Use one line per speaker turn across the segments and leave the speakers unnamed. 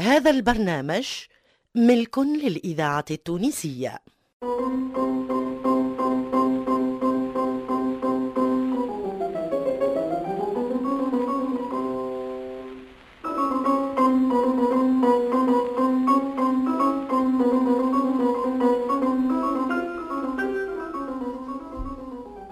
هذا البرنامج ملك للإذاعة التونسية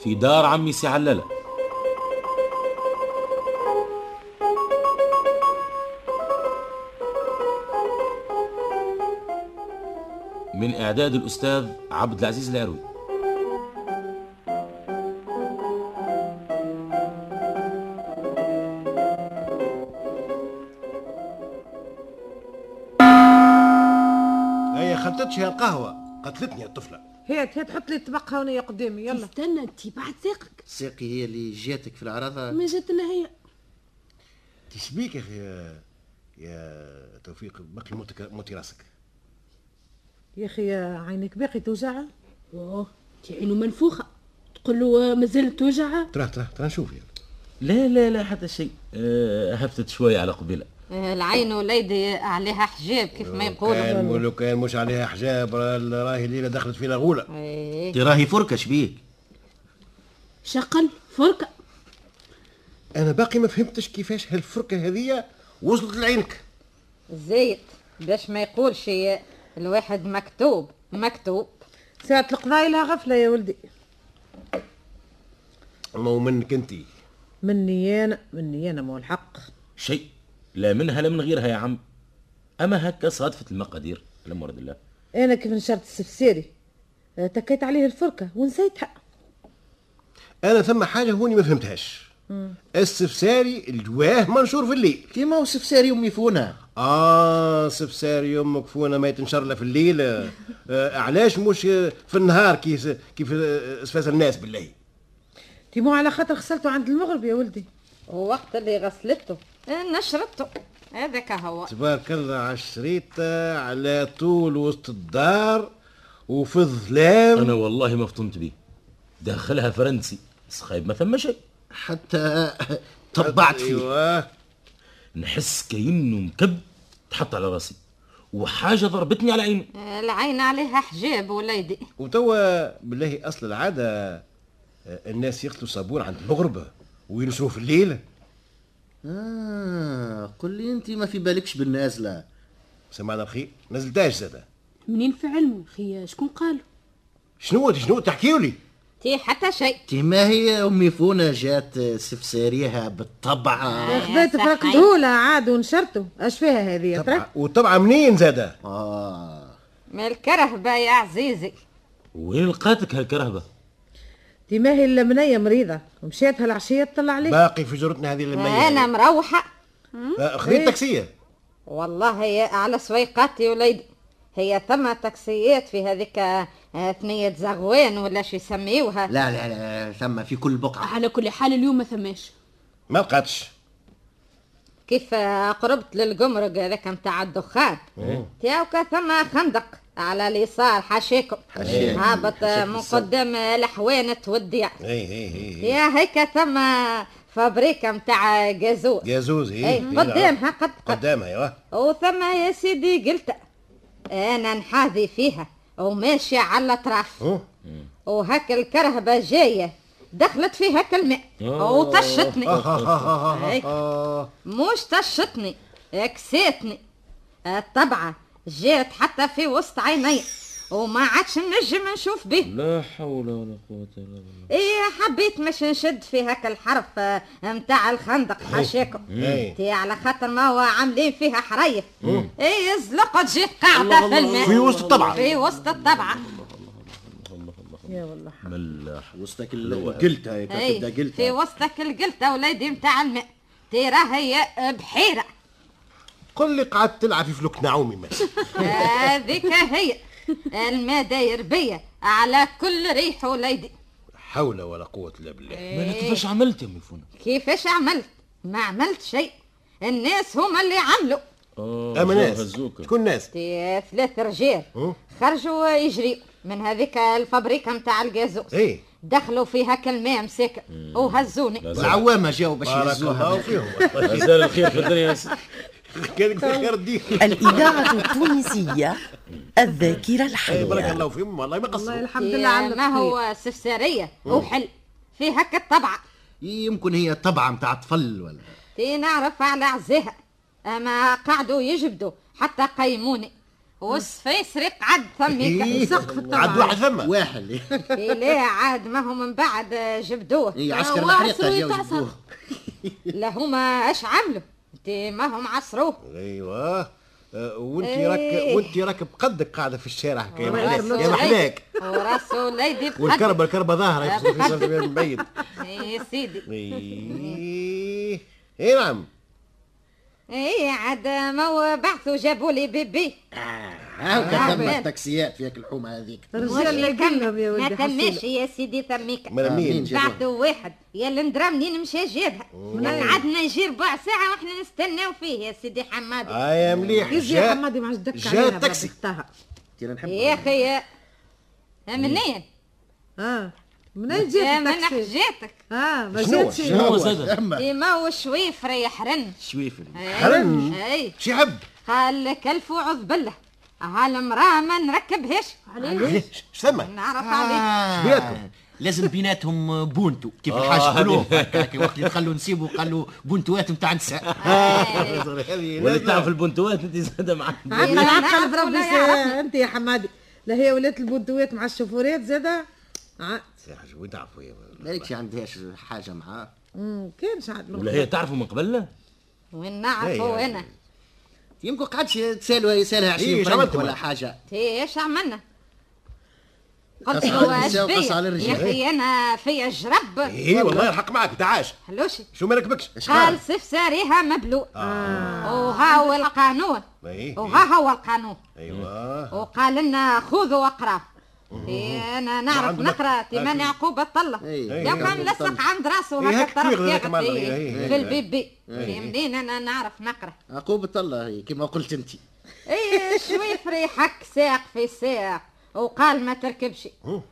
في دار عمي سي عللة من إعداد الأستاذ عبد العزيز العروي
هي خلطتش هي القهوة قتلتني الطفلة
هيك هي تحط لي الطبق هوني قدامي يلا
استنى انت بعد ساقك
ساقي هي اللي جاتك في العرضة
ما جاتنا هي
تشبيك يا أخي يا توفيق بقي موتك موتي راسك
يا اخي يا عينك باقي توجع
اوه انت عينه منفوخه تقول له آه، مازال توجع
تراه تراه تراه نشوف يعني. يلا
لا لا لا حتى شيء آه، هفتت شوية على قبيلة
العين وليدي عليها حجاب كيف ما يقولوا
كان ولو كان مش عليها حجاب راه- راهي الليلة دخلت فينا غولة
إيه.
راهي فركة شبيك
شقل فركه
أنا باقي ما فهمتش كيفاش هالفركة هذية وصلت لعينك
زيت باش ما يقولش يا الواحد مكتوب مكتوب
ساعة القضاء لها غفلة يا ولدي
ما هو منك أنت
مني أنا مني أنا مو الحق
شيء لا منها لا من غيرها يا عم أما هكا صادفت المقادير لا مرد الله
أنا كيف نشرت السفسيري آه، تكيت عليه الفركة ونسيتها
أنا ثم حاجة هوني ما فهمتهاش السفساري الجواه منشور في الليل
كيما هو سفساري أمي فونا
اه سبساري امك فونا ما يتنشر له في الليل آه، آه، علاش مش آه، في النهار كيف كيف آه، سفاس الناس بالله
تي مو على خاطر غسلته عند المغرب يا ولدي
ووقت اللي غسلته آه، نشرته هذاك هو
تبارك الله على الشريطة على طول وسط الدار وفي الظلام
أنا والله ما فطنت بيه دخلها فرنسي سخايب ما ثم شيء
حتى طبعت فيه
ايوه
نحس كأنه مكب تحط على راسي وحاجة ضربتني على عيني
آه، العين عليها حجاب وليدي
وتوا بالله اصل العادة آه، الناس يغسلوا صابون عند المغرب وينشروا في الليل
آه قل لي أنت ما في بالكش بالنازلة
سمعنا الخير نزلتاش زاده
منين في علمه خي شكون قالوا
شنو شنو تحكيوا لي
تي حتى شيء
كيما هي أمي فونا جات سفساريها بالطبعة
خذيت
صحيح.
فرق دهولة عاد ونشرته أش فيها هذه يا ترى
وطبعا منين زاده
آه
من الكرهبة يا عزيزي
وين لقاتك هالكرهبة
تي ماهي المنية مريضة ومشيتها العشية تطلع عليه
باقي في جرتنا
آه،
هذه اللمية
انا مروحة
آه، خذيت تاكسية
والله يا على سويقاتي وليدي هي ثم تاكسيات في هذيك آه، ثنية زغوان ولا شو يسميوها
لا لا لا ثم في كل بقعة
على كل حال اليوم ما ثماش
ما لقاتش
كيف آه، قربت للجمرك هذاك نتاع الدخان تاوكا ثم خندق على اليسار حاشيكم
حاشاكم.
هابط آه،
حاشاك
من
الصوت.
قدام الحوانت والديار
اي اي اي
يا هيك ثم فابريكا نتاع جازول
جازوز اي
إيه،
اي
إيه،
قدامها قد قد
قدامها ايوه
وثم يا سيدي قلت انا نحاذي فيها وماشية على الاطراف
أوه.
وهك الكرهبة جاية دخلت في هك الماء
آه.
وطشتني
آه، آه، آه، آه،
إيه.
هيك.
آه.
مش طشتني كسيتني الطبعة جات حتى في وسط عيني وما عادش نجم نشوف به
لا حول ولا قوة إلا بالله
ايه حبيت مش نشد في هاك الحرف آه، متاع الخندق حاشاكم
إيه.
تي على خاطر ما هو عاملين فيها حريف ايه الزلقة تجي قاعدة في الماء
في وسط الطبعة.
في وسط الطبعة
يا والله
ملاح
وسطك القلتة هيك تبدا
ايه
قلتة
في وسطك القلتة وليدي متاع الماء تي راهي بحيرة
قل لي قعدت تلعب في فلوك نعومي ما
هذيك هي الماء داير بيا على كل ريح وليدي
حول ولا قوة الا بالله
ما أنا كيفاش عملت يا أمي فونا
كيفاش عملت ما عملت شيء الناس هما اللي عملوا
آه
اما ناس
هزوك
شكون ناس
تي ثلاث رجال
أوه.
خرجوا يجريوا من هذيك الفابريكا متاع الجازوز
إيه.
اي
دخلوا فيها كلمة مساكن وهزوني
العوامة جاو باش
بارك
يهزوها
الله فيهم
مازال الخير في الدنيا يا سي.
كانك في خير الدين
الإذاعة التونسية الذاكرة
إيه، بارك
الحية
الله فيهم والله ما
والله
قصروا
الحمد لله على
ما
الخير
هو سفسارية وحل في هكا الطبعة
يمكن هي طبعة متاع طفل ولا
تي نعرف على عزاها أما قعدوا يجبدوا حتى قيموني والسفيسري قعد
إيه.
ثميك سقف
عاد
الطبعة
واحد ثم
واحد
إيه، لا عاد ما هم من بعد جبدوه
إيه، عسكر
آه،
الحريقة
وعسروي
جاو
تعسر.
يجيبوه.
لا هما اش عملوا تي ما هم عصروه
ايوه آه، وانت
إيه.
راك وانت راك بقدك قاعده في الشارع كي محلاك
وراسه
يا
ليدي-
محلاك
وراسه ليدي بقد.
والكربه الكربه ظاهره يا
بقدك.
أخي، في مبيت
إيه يا سيدي
ايه إيه نعم
ايه عاد ما هو بعثوا جابوا لي بيبي
آه،
هاكا ثم
عباد.
التاكسيات فيك الحومة هذيك
الرجال
وش
لا
يكمل؟
يقلهم يا
ما
ولدي
تماش
حسينة.
يا سيدي ثميك
من
آه، مين
مين
جابوه؟
بعثوا واحد يا الندرا منين مشى جابها قعدنا نجي ربع ساعه واحنا نستناو فيه يا سيدي حمادي
اه يا مليح
يزي يا
جا
حمادي ما عجبتك
جا
عليها
التاكسي.
بابا،
انت لا نحب
يا اخي يا- منين
اه منين جات
يا إيه، من
التاكسي
حجاتك
اه ما
شنو؟
جاتش
شنو؟ هو
هو
زاد.
ثم
ديما وشويفر يحرن
شويفل
حرن؟
اي
شي حب
قال لك الف وعوذ بالله ها المراه ما نركبهاش
إيه.
علاش
اش ثم
نعرف عليك
آه.
بياكم؟
آه. لازم بيناتهم بونتو كيف
آه،
الحاج
هذه-
قلوب هكاك وقت اللي قالوا نسيبوا قالوا بونتوات نتاع نساء
إي.
ولا تعرف البنتوات انت زاده معاك
عقل
إيه، لا
عقل
نعرف
ضرب لي
ولا يعرفني.
ساعة انت يا حمادي لا هي ولات البندوات مع الشوفورات زاده عاد
يا حاج وين تعرفوا يا
مالكش عندهاش حاجة معاه
مم، كانش عاد من
ولا
قبل.
هي تعرفه من قبل
وين
إي.
نعرفوا هنا
يمكن قعدش تسالها يسالها
إيه،
20
شو
فرنك
عملتوا
ولا
معاه؟
حاجة
تي ايش عملنا قلت
قص على
له
النساء
أشبيه.
وقص على الرجال.
يا اخي انا في جرب
اي إيه، والله الحق معك تعاش
حلوشي
شو ما ركبكش
قال سفسارها مبلول وها هو القانون
إيه،
وها هو القانون
ايوه
إيه.
وقال لنا خذوا واقراوا إيه، انا نعرف
عندنا-
نقرا تمنى يعقوب الطله
إيه،
لو
إيه،
كان ملصق عند راسه
إيه،
هكا
هكا
الطرف
يقدر
يغط
كمان،
إيه،
إيه، إيه،
في
إيه.
البيبي في منين انا نعرف نقرا
عقوبة الله كما قلت انت
اي إيه، شوي فريحك ساق في ساق وقال ما تركبش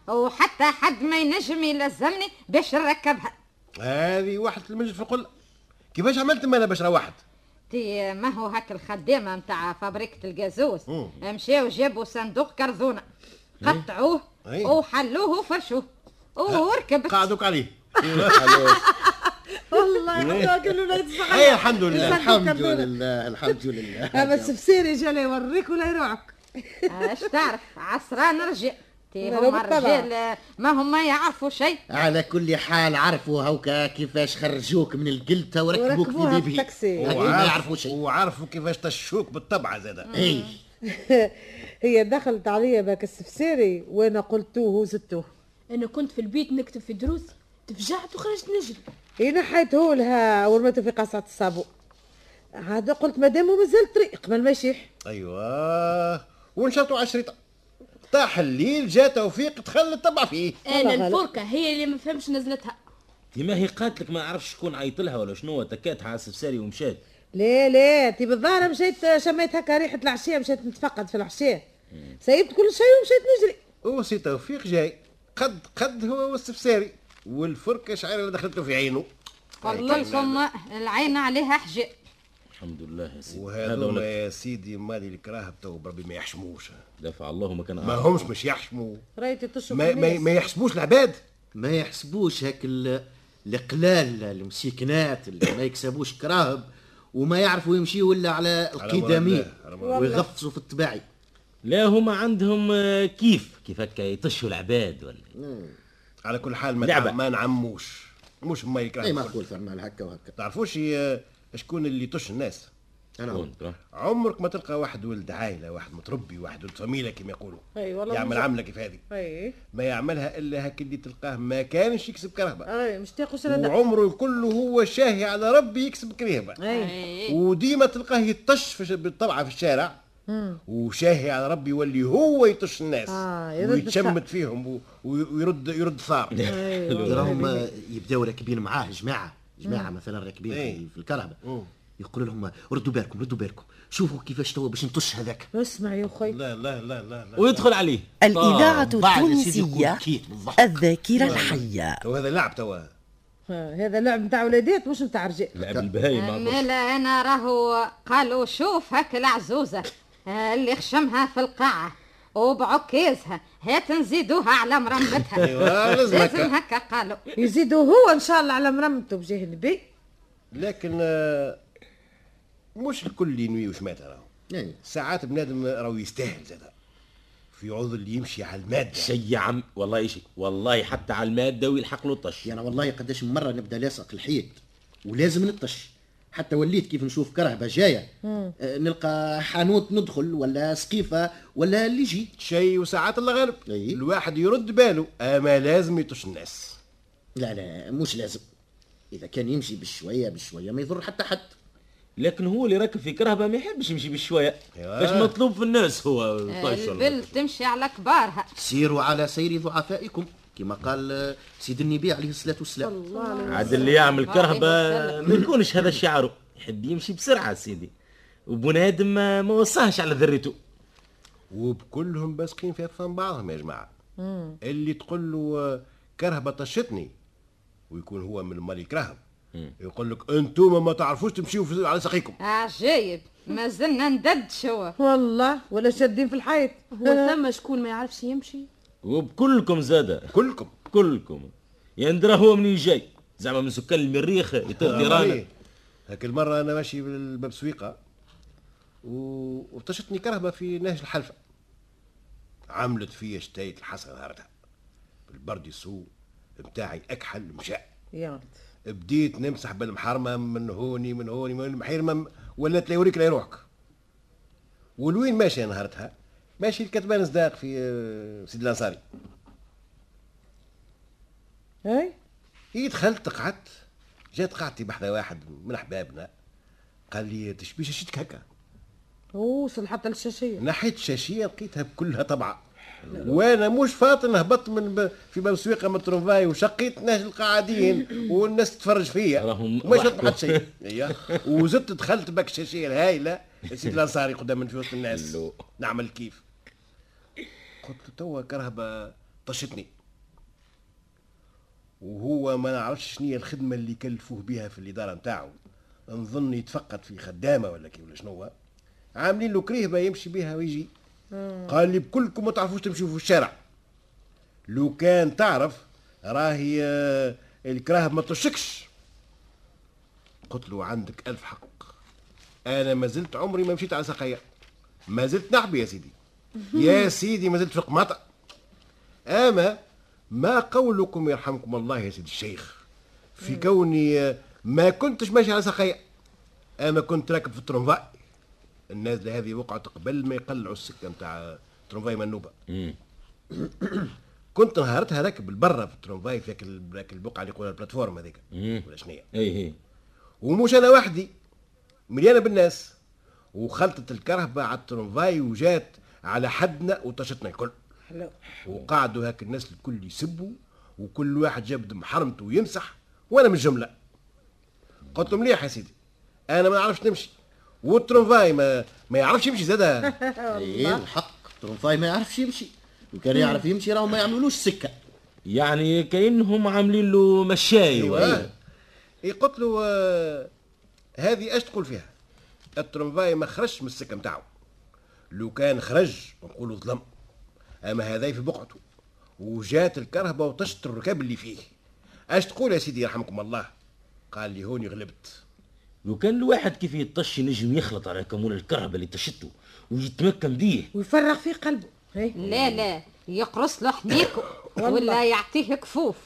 وحتى حد ما ينجم يلزمني باش نركبها
هذه واحد المجد في القل كيفاش عملت ما انا باش روحت
تي ما هو هاك الخدامة متاع فابريكة الجازوز
مم.
مشاو جابوا صندوق كرزونة قطعوه
إيه.
وحلوه وفرشوه وركبت
قعدوك عليه
والله الحمد لله ولا يتسمع
اي الحمد لله
يسلمك
الحمد
ربنا.
لله الحمد لله
اما السبسيري جا لا يوريك ولا يروعك
اش تعرف عسران رجع تي
لا،
هما
بالطبع.
الرجال ما هما يعرفوا شيء
على كل حال عرفوا هوكا كيفاش خرجوك من القلتة وركبوك
وركبوها
في
في
بيبي
التاكسي.
هذول ما يعرفوا شيء
وعرفوا كيفاش تشوك بالطبعه زاد
اي
هي دخلت عليا باك السبسيري وانا قلتوه وزدتوه
انا كنت في البيت نكتب في دروسي تفجعت وخرجت نجري
اي إيه، نحيته لها ورميته في قصعة الصابون عاد قلت مادام مازال طريق قبل ما يشيح
ايوه ونشرتوا على الشريطه طاح الليل جا توفيق دخل الطبع فيه
انا
غلط.
الفركه هي اللي ما فهمش نزلتها
ما هي قاتلك ما عرفش شكون عيط لها ولا شنو تكات على السفساري ومشات
لا لا انت بالظاهر مشيت شميت هكا ريحة العشية مشيت نتفقد في العشية سيبت كل شيء ومشيت نجري
وسي توفيق جاي قد قد هو والسفساري والفركه شعير اللي دخلته في عينه طيب.
قلت لكم العين عليها حجاب
الحمد لله يا سيدي هذا
وهذوما
ولا
يا سيدي مالي الكراهب تو بربي ما يحشموش
دفع الله ما كان
ما
أعرف.
همش مش يحشموا
رايتي تشوف
ما, ما, ما يحسبوش العباد
ما يحسبوش هاك ال- القلال المسيكنات اللي ما يكسبوش كراهب وما يعرفوا يمشيوا الا على القدامين
الله، على مرض
الله.
ويغفصوا في التباعي
لا هما عندهم آه، كيف كيف هكا يطشوا العباد
نعم.
ولا إيه؟
على كل حال ما,
لعبة.
نعم- ما نعموش مش ما يكرهب
اي إيه، معقول تعمل هكا وهكا
تعرفوش ي- شكون اللي يطش الناس
انا
كنت، آه.
عمرك ما تلقى واحد ولد عائله واحد متربي واحد ولد فاميله كما يقولوا
اي والله
يعمل
مش-
عمله كيف هذه
اي
ما يعملها الا هك اللي تلقاه ما كانش يكسب كرهبه
اي مشتاق وسندا
وعمره كله هو شاهي على ربي يكسب كرهبه
اي
إيه.
وديما تلقاه يطش في ش- بالطبعه في الشارع وشاهي على ربي يولي هو يطش الناس
آه، يرد إيه.
ويتشمت فيهم و- و- ويرد يرد ثار
أيوة.
راهم يبداو راكبين معاه جماعه جماعه مثلا راكبين
إيه.
في- في الكرهبه يقولوا لهم ردوا بالكم ردوا بالكم شوفوا كيفاش توا باش نطش هذاك
اسمع يا اخوي
لا لا لا لا لا
ويدخل عليه
الإذاعة
آه،
بعد يا سيدي يكون
التونسية
كيت بالضحك
الذاكرة الحية
تو هذا لعب توا
آه، هذا لعب نتاع ولادات مش نتاع رجال
لعب البهايم معروف.
ملا انا راهو قالوا شوف هاك العزوزه آه، اللي خشمها في القاعه وبعكازها هات نزيدوها على مرمتها
إيوا، لازمك.
لازم هكا قالوا
يزيدوا هو ان شاء الله على مرمته بجاه النبي
لكن آه، مش الكل ينوي وش مات راهو
يعني
ساعات بنادم راهو يستاهل زاد في عوض اللي يمشي على الماده
شي يا عم والله شي والله حتى على المادة ويلحق له الطش
يعني والله قداش من مره نبدا لاصق الحيط ولازم نطش حتى وليت كيف نشوف كرهبه جايه آه، نلقى حانوت ندخل ولا سقيفه ولا اللي يجي
شيء وساعات الله غالب
أي.
الواحد يرد باله اما لازم يطش الناس
لا لا مش لازم اذا كان يمشي بشويه بشويه ما يضر حتى حد
لكن هو اللي راكب في كرهبة ما يحبش يمشي بالشوية
إيوا.
باش مطلوب في الناس هو
آه،
الطش ولا-
البل تمشي على كبارها
سيروا على سير ضعفائكم كما قال آه، سيد النبي عليه الصلاه والسلام
عاد اللي يعمل كرهبة
وسلم.
ما يكونش هذا شعاره يحب يمشي بسرعة سيدي وبنادم ما ما وصاهش على ذريته
وبكلهم باسقين في اكفان بعضهم يا جماعه اللي تقول له آه، كرهبه طشتني ويكون هو من المال يكرهب يقول لك انتم ما تعرفوش تمشيوا في- على ساقيكم
عجيب ما زلنا ندد شو
والله ولا شادين في الحيط
هو ثم شكون ما يعرفش يمشي
وبكلكم زادة
كلكم
كلكم يعني درا هو منين جاي زعما من سكان المريخ يطير
رانا
طيران
هاك المره انا ماشي بالباب سويقه و- وطشتني كرهبه في نهج الحلفه عملت فيا شتاية الحسن نهارتها البرد يسوء متاعي اكحل مشاء
يا لطيف.
بديت نمسح بالمحرمه من هوني من هوني من المحرمه ولات لا يوريك لا يروحك ولوين ماشي نهارتها ماشي الكتبان صداق في آه، سيدي الانصاري
اي
هي دخلت قعدت جات قعدتي بحذا واحد من احبابنا قال لي تشبيش شيتك هكا
وصل حتى للشاشيه
نحيت الشاشيه لقيتها بكلها طبعه وانا مش فاطن هبطت من ب... في باب سويقه من الترنفاي وشقيت ناس القاعدين والناس تتفرج فيا
راهم
ما شفت
ضحكوا.
حد شيء إيه. وزدت دخلت بك الشاشيه الهايله سيدي الانصاري قدام في وسط الناس
لو.
نعمل كيف قلت له توا كرهبه طشتني وهو ما نعرفش شنو هي الخدمه اللي كلفوه بها في الاداره نتاعو نظن يتفقد في خدامه ولا كيف ولا شنو هو. عاملين له كرهبه يمشي بها ويجي قال لي بكلكم ما تعرفوش تمشوا في الشارع لو كان تعرف راهي آه، الكراهب ما تشكش قلت له عندك ألف حق أنا ما زلت عمري ما مشيت على ساقية ما زلت نحبي يا سيدي يا سيدي ما زلت في قمطة أما ما قولكم يرحمكم الله يا سيدي الشيخ في كوني آه، ما كنتش ماشي على ساقية أما كنت راكب في الترنفاي النازلة هذه وقعت قبل ما يقلعوا السكة نتاع ترنفاي منوبة كنت نهارتها راكب البرة في الترنفاي في هاك ال- هاك البقعة اللي يقولها البلاتفورم هذيك ولا شنية
اي اي
ومش انا وحدي مليانه بالناس وخلطت الكرهبه على الترنفاي وجات على حدنا وطشتنا الكل وقعدوا هاك الناس الكل يسبوا وكل واحد جاب محرمته ويمسح وانا من الجمله قلت له مليح يا سيدي انا ما نعرفش نمشي والترنفاي ما ما يعرفش يمشي زاد
ايه الحق ترونفاي ما يعرفش يمشي وكان يعرف يمشي راهو ما يعملولوش سكه
يعني كانهم عاملين له مشاي
أيوة.
أيوة.
إيه. ولا-
اي قلت له آه، هذه اش تقول فيها الترنفاي ما خرجش من السكه نتاعو لو كان خرج نقولوا ظلم اما هذا في بقعته وجات الكرهبه وطشت الركاب اللي فيه اش تقول يا سيدي يرحمكم الله قال لي هوني غلبت
لو كان الواحد كيف يطش ينجم يخلط على كمون الكرهبة اللي طشته ويتمكن بيه
ويفرغ في قلبه هي
لا لا يقرص له حنيكو ولا يعطيه كفوف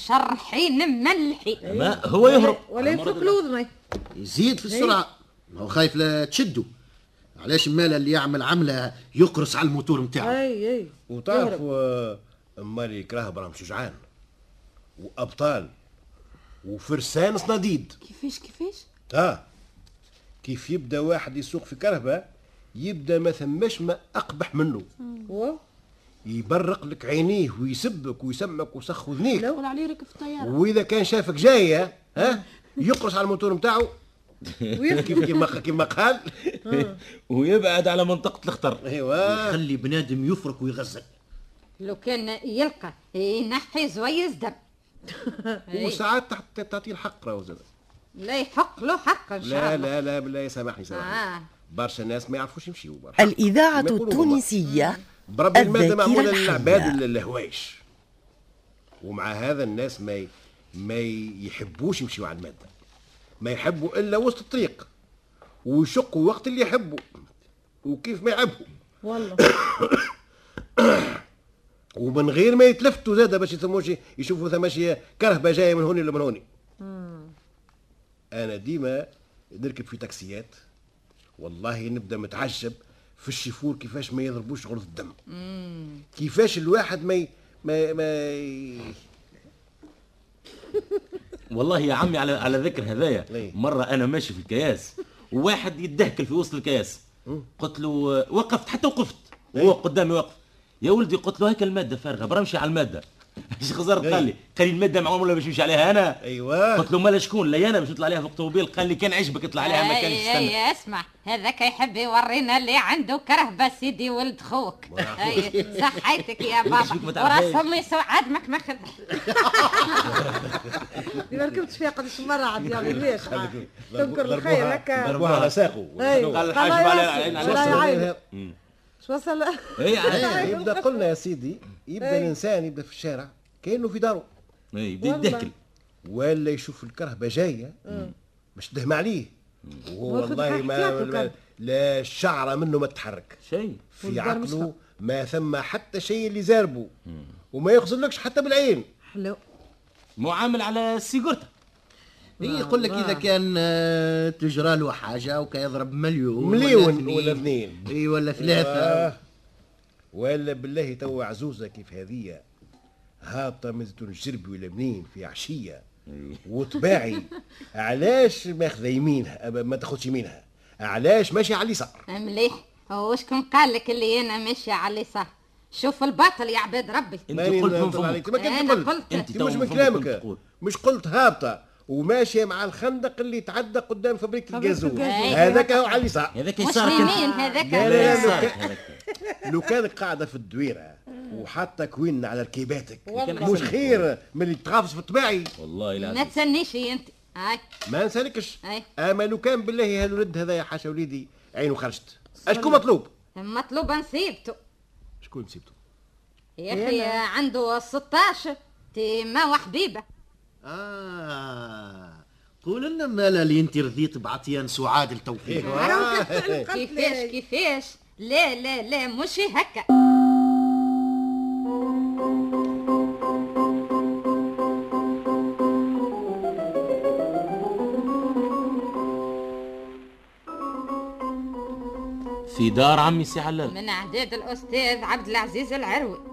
مشرحين ملحي
ما هو يهرب
ولا يفك له اذني
يزيد في السرعه هو خايف لا تشده علاش مالا اللي يعمل عمله يقرص على الموتور نتاعه
اي اي
وتعرفوا آه، امال الكرهبه راهم شجعان وابطال وفرسان صناديد
كيفاش كيفاش
اه كيف يبدا واحد يسوق في كرهبه يبدا ما ثماش ما اقبح منه
و-
يبرق لك عينيه ويسبك ويسمك وسخ
لا
وذنيك
ولا عليه ركب الطياره
واذا كان شافك جايه ها يقرص على الموتور نتاعو
ويركب
كيف كيما كيما قال
ويبعد على منطقة الخطر
ايوا
خلي
آه،
بنادم يفرك ويغزل
لو كان يلقى ينحي زويز دم
وساعات تحت- تعطيه الحق راهو زاد
لا يحق له حق ان شاء
لا
الله
لا لا بالله سامحني سامحني
آه.
برشا ناس ما يعرفوش يمشيوا برشا.
الإذاعة
ما يقولوا هما.
التونسية
بربي المادة معمولة
الذاكرة
للعباد
الحية.
اللي الهوايش ومع هذا الناس ما ي... ما يحبوش يمشيوا على المادة ما يحبوا إلا وسط الطريق ويشقوا وقت اللي يحبوا وكيف ما يحبوا
والله
ومن غير ما يتلفتوا زاده باش يسموش يشوفوا ثماشي كرهبه جايه من هوني ولا من هوني انا ديما نركب في تاكسيات والله نبدا متعجب في الشيفور كيفاش ما يضربوش غلط الدم كيفاش الواحد ما ي... ما ما ي-
والله يا عمي على على ذكر هذايا
ليه؟
مره انا ماشي في الكياس وواحد يتدهكل في وسط الكياس قلت له آه، وقفت حتى وقفت هو قدامي واقف يا ولدي قلت له هيك الماده فارغه برمشي على الماده ايش غزار قال لي قال لي الماده معموله باش نمشي عليها انا
ايوه
قلت له مالا شكون لا انا باش نطلع عليها في الطوموبيل قال لي كان عجبك اطلع عليها ما كانش
أي-
استنى
أي اسمع هذاك يحب يورينا اللي عنده كرهبة سيدي ولد خوك أي، صحيتك يا
إيش بك ما
بابا
تعرفهاش؟
وراسهم يسوع عاد ماك ماخذ
ما ركبتش فيها قداش مرة عاد يا ليش عاد. تذكر الخير
ضربوها-
هكا
ضربوها على ساقه
أي.
ولا شنو؟
قال الحاج
الله
على-
يعافيك.
على-
الله
على-
يعينك شو وصل
اي عاد.
يبدا قلنا يا سيدي
أيوة.
يبدا الانسان يبدا في الشارع كانه في داره
اي يبدا
والله.
يتدهكل
ولا يشوف الكرهبه جايه مش تدهم عليه وهو
واخد
والله
احتياطه
ما, ما
كان.
لا شعره منه ما تحرك
شيء
في
والدار مش
عقله ما ثم حتى شيء اللي زاربه وما يغسلكش حتى بالعين
حلو
معامل على السيجورتا
إيه، يقول لك اذا كان آه، تجرى له حاجه وكان يضرب مليون ولا
مليون
اثنين.
ولا اثنين
اي ولا ثلاثه
آه. ولا بالله تو عزوزه كيف هذية هابطه من زيتون الجربي ولا منين في عشيه
أيوه.
وطباعي علاش ماخذه يمينها أب- ما تاخذش يمينها علاش ماشي على اليسار
مليح وشكون قال لك اللي أنا ماشية على اليسار شوف الباطل يا عباد ربي
انت
ماني
قلت من
نطلع
فمك
عليك. ما كنت
أنا
قلت
قلت.
أنت
انت
تو
مش
من
من
فمك كنت
كلامك
تقول.
مش قلت هابطه وماشيه مع الخندق اللي تعدى قدام فابريك الجازو
الجازو.
هذاك هو على اليسار
هذاك
مش
يسارك أنت.
يمين
لا،
هذاك
لا
لا،
يسارك
لا.
هذاك
لو كان قاعده في الدويره وحاطه كوين على ركيباتك
والله.
مش خير من اللي تغافص في طباعي
والله
ما
لا
تسنيش انت هاي
ما نسالكش
أي.
اما لو كان بالله هالولد هذا يا حاشا وليدي عينه خرجت اشكون مطلوب
مطلوب نصيبته
شكون نسيبته
يا اخي عنده 16 تيما وحبيبه
اه قول لنا مالا اللي انت رضيت بعطيان سعاد لتوفيق
إيه.
كيفاش كيفاش لا لا لا مش هكا
في دار عمي سي علام
من اعداد الاستاذ عبد العزيز العروي